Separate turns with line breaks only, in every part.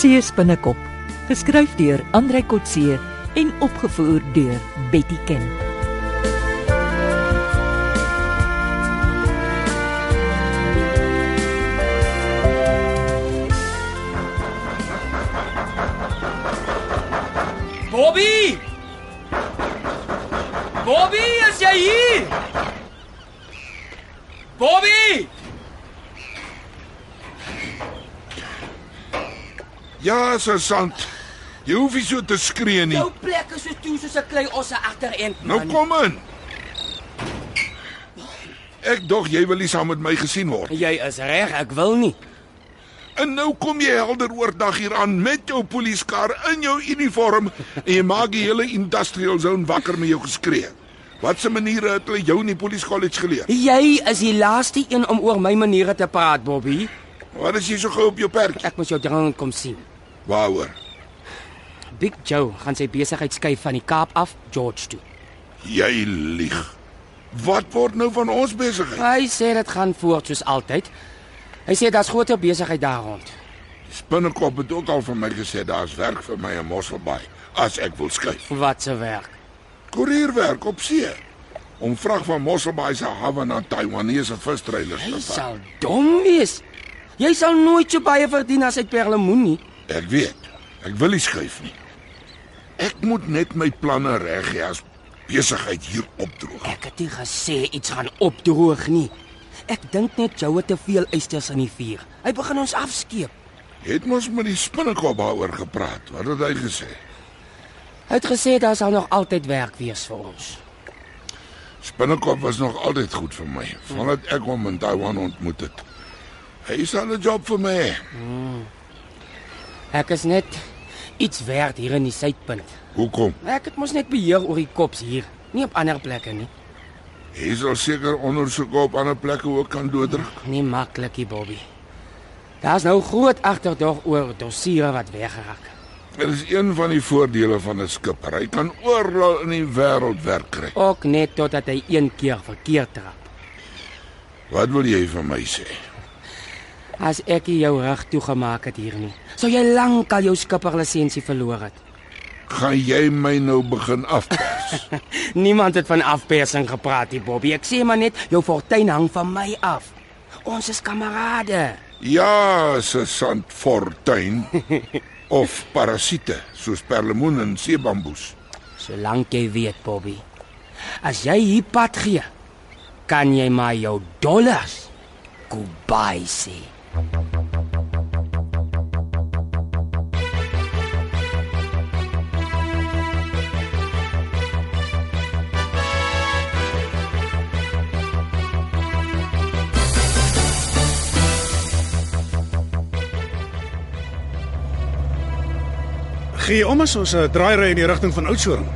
See se binnekop, geskryf deur Andrei Kotse en opgevoer deur Betty Ken.
Bobby! Bobby, is jy hier? Bobby!
Ja, sergeant. Jy hoef nie so te skree nie.
Jou plek is so toe soos 'n klei osse agter end
Nou
man.
kom in. Ek dog jy wil nie saam met my gesien word.
Jy is reg, ek wil nie.
En nou kom jy helder oordag hier aan met jou polisiekar in jou uniform en jy maak die hele industrial zone wakker met jou geskree. Wat 'n maniere het hulle jou in die polisie college geleer?
Jy is die laaste een om oor my maniere te praat, Bobby.
Wat is jy so gou op jou perd?
Ek moet jou dringend kom sien.
Waaroor?
Big Joe gaan sy besigheid skuif van die Kaap af George toe.
Jy lieg. Wat word nou van ons besigheid?
Hy sê dit gaan voort soos altyd. Hy sê daar's groter besigheid daar rond.
Spinnekop het ook al vir my gesê daar's werk vir my in Mosselbaai as ek wil skuif.
Wat se werk.
koerierwerk op see om vrag van Mosselbaai se hawe na Taiwanese vistreilers
Hy
te vat.
sal dom wees. Jy sal nooit so baie verdien as uit perlemoen nie.
Ek weet. Ek wil nie skuif nie. Ek moet net my planne reg hê as besigheid hier opdroog.
Ek het nie gesê iets gaan opdroog nie. Ek dink net jou het te veel eisters in die vuur. Hy begin ons afskeep.
Jy Het mos met die spinnekop daaroor gepraat. Wat het hy gesê?
Hy het gesê daar sal nog altyd werk wees vir ons.
Spinnekop was nog altyd goed vir my vandat ek hom in Taiwan ontmoet het. Hy sal 'n job vir my hê.
Ek is net iets werd hier in die suidpunt.
Hoekom?
Ek het mos net beheer oor die kops hier, nie op ander plekke nie.
Hy sal seker ondersoek op ander plekke ook kan doodruk.
Nie maklikie, Bobby. Daar's nou groot agterdog oor dossiere wat weggeraak.
Dit is een van die voordele van 'n skipper. Hy kan oral in die wêreld werk kry.
Ook net totdat hy een keer verkeerd trap.
Wat wil jy van my sê?
As ek nie jou rug toegemaak het hier nie, sou jy lankal jou skipperlisensie verloor het.
Gaan jy my nou begin afpers?
Niemand het van afpersing gepraat nie, Bobby. Ek sê maar net jou fortuin hang van my af. Ons is kamerade.
ja, se sant fortuin of parasiete soos perlemoen en seebamboes.
Solank jy weet, Bobby. As jy hier pad gee, kan jy maar jou dollars goodbye sê.
Gee om as ons 'n draai ry in die rigting van Oudtshoorn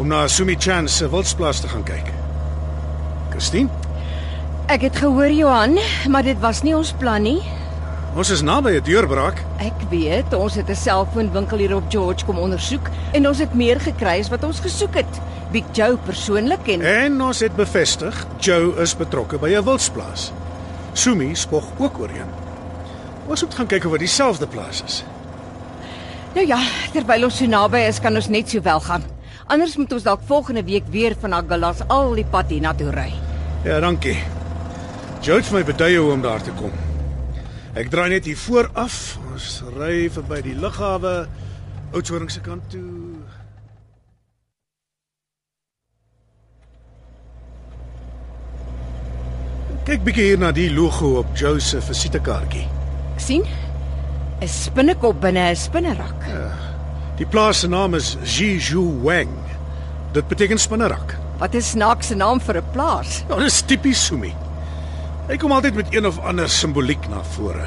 om na Sumi Chan se wildsplaas te gaan kyk. Christine,
Ek het gehoor Johan, maar dit was nie ons plan nie.
ons is naby 'n deurbraak.
Ek weet, ons het 'n selfoonwinkel hier op George kom ondersoek en ons het meer gekry as wat ons gesoek het. Big Joe persoonlik en
En ons het bevestig Joe is betrokke by 'n wildsplaas. Sumi spog ook oorheen. Ons moet gaan kyk of dit dieselfde plaas is.
nou ja, terwyl ons so naby is, kan ons net so wel gaan. Anders moet ons dalk volgende week weer van Agallas al die pad hiernatoe ry.
Ja, dankie. Joe het vir my beduie hoe om daar te kom. Ek draai net hier voor af. Ons ry verby die lughawe Oudtshoorn se kant toe. Kyk bietjie hier na die logo op Joe se visitekaartjie.
Ek sien 'n spinnekop binne 'n spinnerak.
Die plaas se naam is Jiju Wang. Dit beteken spinnerak.
Wat 'n snaakse naam vir 'n plaas.
Nou, dis tipies Sumi. Hy kom altyd met een of ander simboliek na vore.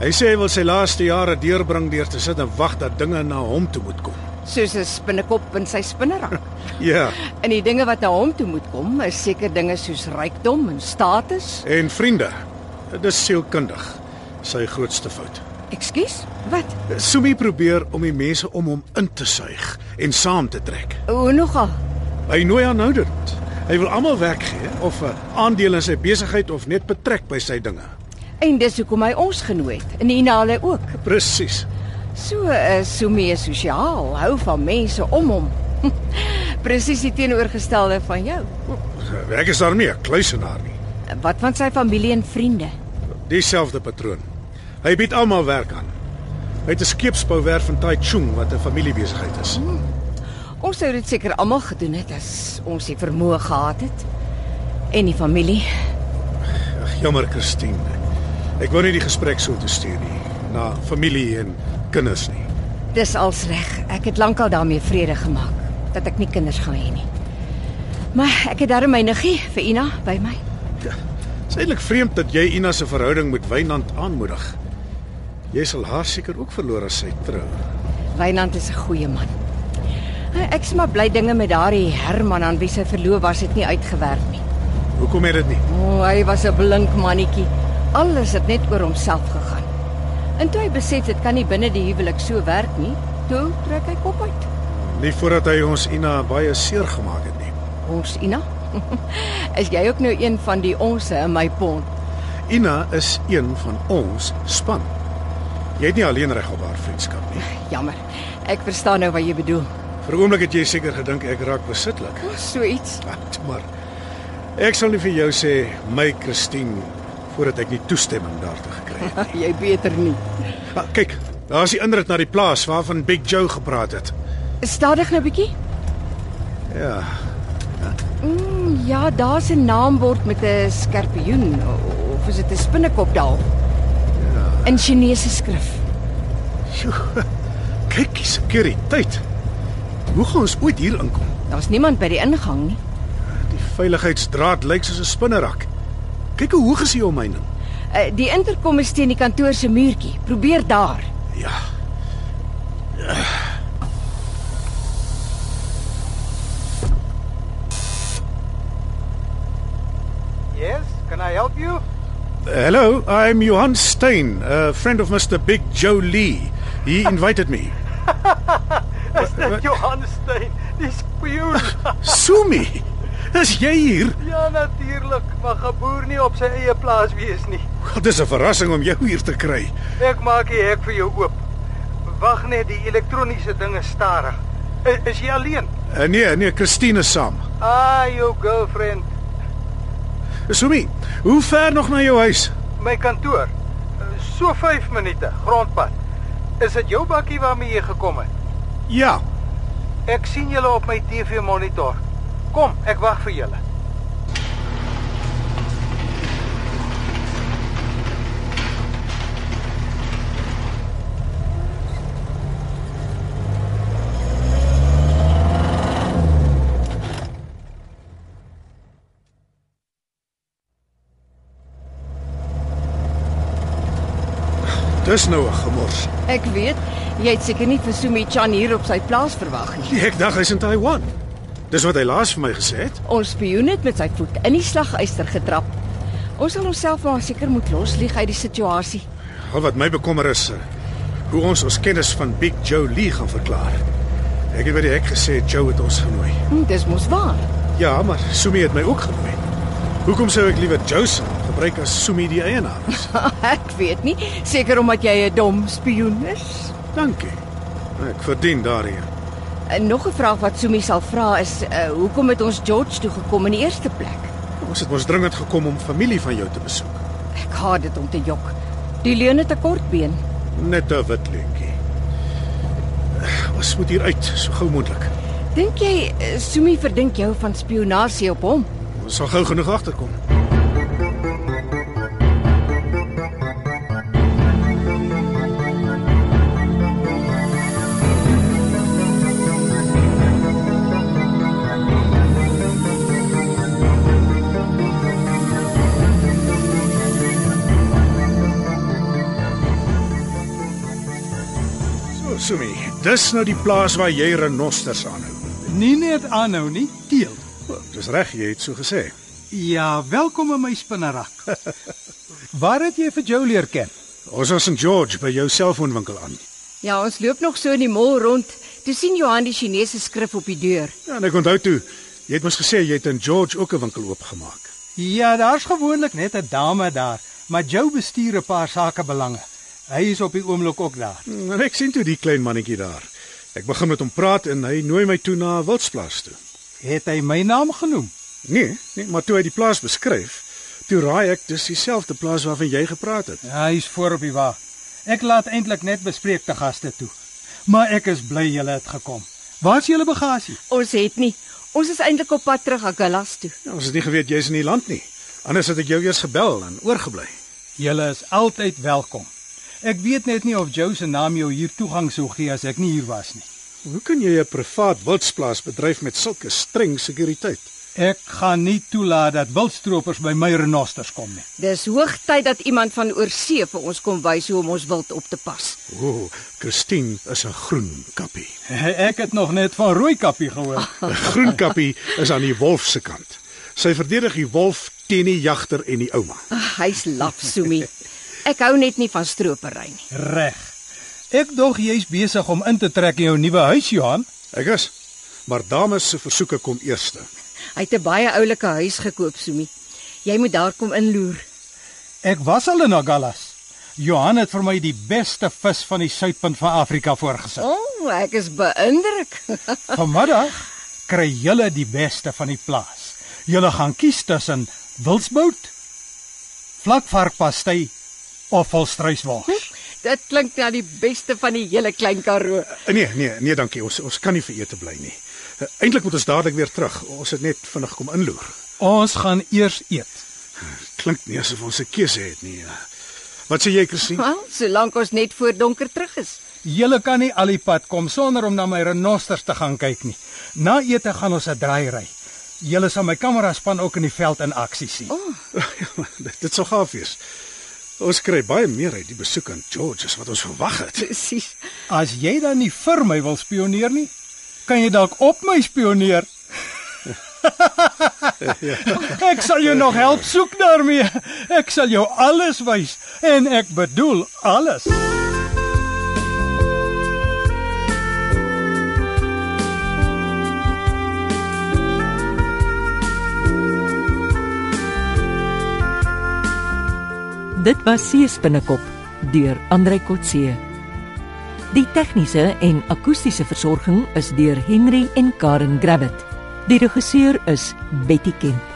Hy sê hy wil sy laaste jare deurbring deur te sit en wag dat dinge na hom toe moet kom.
Soos 'n spinnekop in sy spinnerak.
Ja,
En die dinge wat na hom toe moet kom, is seker dinge soos rykdom en status.
en vriende, dis sielkundig sy grootste fout.
Ekskuus? Wat?
Sumi probeer om die mense om hom in te suig en saam te trek.
Hoe nogal?
Hy nooi aan nou eh, dit. Hy wil almal werk gee of 'n aandeel in sy besigheid of net betrek by sy dinge.
En dis hoekom hy ons genooi het. En Nina hulle ook.
Presies.
So is Sumi is sosiaal, hou van mense om hom. Presies die teenoorgestelde van jou.
Ek is daarmee 'n kluisenaar nie.
Wat van sy familie en vriende?
Dieselfde patroon. Hy bied almal werk aan. Hy het 'n skeepsbouwerf in Taichung wat 'n familiebesigheid is.
Ons sou dit seker almal gedoen het as ons die vermoë gehad het. En die familie.
Ag jammer Christine. Ek wou nie die gesprek so te stuur nie na familie en kinders nie.
Dis als reg. Ek het lankal daarmee vrede gemaak dat ek nie kinders gaan hê nie. Maar ek het darem my niggie vir Ina by my.
Dit is eintlik vreemd dat jy Ina se verhouding met Wynand aanmoedig. Jy sal haar seker ook verloor as sy trou.
Wynand is 'n goeie man. Ek is maar bly dinge met daardie Herman aan wie sy verloof was het nie uitgewerk nie.
Hoekom het dit nie?
O, oh, hy was 'n blink mannetjie. Alles het net oor homself gegaan. En toe hy besef dit kan nie binne die huwelik so werk nie, toe trek hy kop uit.
Nie voordat hy ons Ina baie seer gemaak het nie.
Ons Ina. Is jy ook nou een van die onsse in my pond?
Ina is een van ons span. Jy het nie alleen reg op haar vriendskap nie.
Jammer. Ek verstaan nou wat jy bedoel.
Vir 'n oomblik het jy seker gedink ek raak besitlik.
So iets.
Ah, toe Maar ek sal nie vir jou sê my Christine voordat ek nie toestemming daartoe gekry het.
Jy beter nie.
Ah, kyk, daar's die inrit na die plaas waarvan Big Joe gepraat het.
Stadig nou bietjie.
Ja,
Mm, ja, daar's 'n naambord met 'n skorpioen o- of is dit 'n spinnekop daal? Ja. In Chinese skrif.
Sjoe. Kyk, die sekuriteit. Hoe gaan ons ooit hier inkom?
Daar's niemand by die ingang nie.
Die veiligheidsdraad lyk soos 'n spinnerak. Kyk hoe hoog is die omheining.
Uh, die interkom is teen die kantoor se muurtjie. Probeer daar.
Ja.
Yes, can I help you?
Hello, I'm Johan Stein, a friend of Mr. Big Joe Lee. He invited me.
Is dit Johan Stein, die spioen?
Sumi, is jy hier?
ja natuurlik, maar geboer nie op sy eie plaas wees nie.
Dit is 'n verrassing om jou hier te kry.
Ek maak die hek vir jou oop. Wag net, die elektroniese ding is stadig. I- Is jy alleen?
Uh, nee, nee, Christine is saam.
Ah, jou girlfriend,
Sumi, hoe ver nog na jou huis?
my kantoor. So 5 minute grondpad. Is dit jou bakkie waarmee jy gekom het?
Ja,
Ek sien julle op my TV-monitor. Kom, ek wag vir julle.
dis nou 'n gemors.
Ek weet, jy het seker nie vir Sumi Chan hier op sy plaas verwag nie.
Ek dink hy's in Taiwan. Dis wat hy laas vir my gesê het.
Ons spioen het met sy voet in die slaguister getrap. Ons sal onsself maar seker moet loslieg uit die situasie.
Al wat my bekommer is eh, hoe ons ons kennis van Big Joe Lee gaan verklaar. Ek het by die hek gesê Joe het ons genooi.
Hm, dis mos waar.
Ja, maar Sumi het my ook genooi. Hoekom sou ek liewer Joe se naam gebruik as Sumi die eienaar? is?
Ek weet nie, seker omdat jy 'n dom spioen is.
Dankie. Ek verdien daardie.
En Eh, nog 'n vraag wat Sumi sal vra is, uh, hoekom het ons George toe gekom in die eerste plek?
Ons het mos dringend gekom om familie van jou te besoek.
Ek haat dit om te jok. Die leeu het 'n kort been.
Net 'n wit leentjie. Eh, Ons moet hier uit so gou moontlik.
Dink jy eh, Sumi verdink jou van spionasie op hom?
Ons sal gou genoeg agterkom. So, Sumi, dis nou die plaas waar jy renosters aanhou.
Nie net aanhou nie, teel.
O, Dis reg, jy het so gesê.
Ja, welkom in my spinnerak. Waar het jy vir Joe leer ken?
Ons was in George by jou selfoonwinkel aan.
Ja, ons loop nog so in die mall rond. Toe sien Johan die Chinese skrif op die deur.
Ja, en ek onthou toe, jy het mos gesê jy het in George ook 'n winkel oopgemaak.
Ja, daar's gewoonlik net 'n dame daar, maar Joe bestuur 'n paar sakebelange. Hy is op die oomblik ook daar.
Hm, En ek sien toe die klein mannetjie daar. Ek begin met hom praat en hy nooi my toe na 'n wildsplaas toe.
Het hy my naam genoem?
Nee, nee, maar toe hy die plaas beskryf, toe raai ek dis dieselfde plaas waarvan jy gepraat het.
Ja, hy's voor op die wa. Ek laat eintlik net bespreek te gaste toe. Maar ek is bly julle het gekom. Waar's julle bagasie?
Ons het nie. Ons is eintlik op pad terug Agulhas toe.
Ja, ons het nie geweet jy's in die land nie. Anders het ek jou eers gebel en oorgebly.
Julle is altyd welkom. Ek weet net nie of Joe se naam jou hier toegang sou gee as ek nie hier was nie.
Hoe kan jy 'n privaat wildsplaas bedryf met sulke streng sekuriteit?
Ek gaan nie toelaat dat wildstroopers by my renosters kom nie.
Dis hoogtyd dat iemand van oorsee vir ons kom wys hoe om ons wild op te pas.
O, oh, Christine is 'n groen kappie.
Ek het nog net van Rooikappie gehoor.
'n Groen kappie is aan die wolf se kant. Sy verdedig die wolf teen die jagter en die ouma.
Ag, hy's laf, Sumi. Ek hou net nie van stropery nie.
Reg. Ek dog jy's besig om in te trek in jou nuwe huis, Johan.
Ek is. Maar dames se versoeke kom eerste.
Hy het 'n baie oulike huis gekoop, Sumi. Jy moet daar kom inloer.
Ek was al in Agallas. Johan het vir my die beste vis van die suidpunt van Afrika voorgesit.
O, oh, ek is beïndruk.
Vanmiddag kry julle die beste van die plaas. Julle gaan kies tussen wilsbout, vlakvarkpastei of volstruiswors.
Dit klink na die beste van die hele Klein Karoo.
Nee, nee, nee, dankie. Ons ons kan nie vir ete bly nie. Eintlik moet ons dadelik weer terug. Ons het net vinnig kom inloer.
Ons gaan eers eet.
Klink nie asof ons 'n keuse het nie. ja. Wat sê jy, Christine?
Wel, solank ons net voor donker terug is.
Julle kan nie al die pad kom sonder om na my renosters te gaan kyk nie. Na ete gaan ons 'n draai ry. Julle sal my kamera span ook in die veld in aksie sien. Oh.
Ja, dit, dit sou gaaf wees. Ons kry baie meer uit die besoek aan George as wat ons verwag het.
Presies.
As jy dan nie vir my wil spioneer nie, kan jy dalk op my spioneer. ek sal jou nog help soek daarmee. Ek sal jou alles wys en ek bedoel alles.
Dit was Sees binnekop deur Andrei Kotse. Die tegniese en akoestiese versorging is deur Henry en Karen Gravett. Die regisseur is Betty Kemp.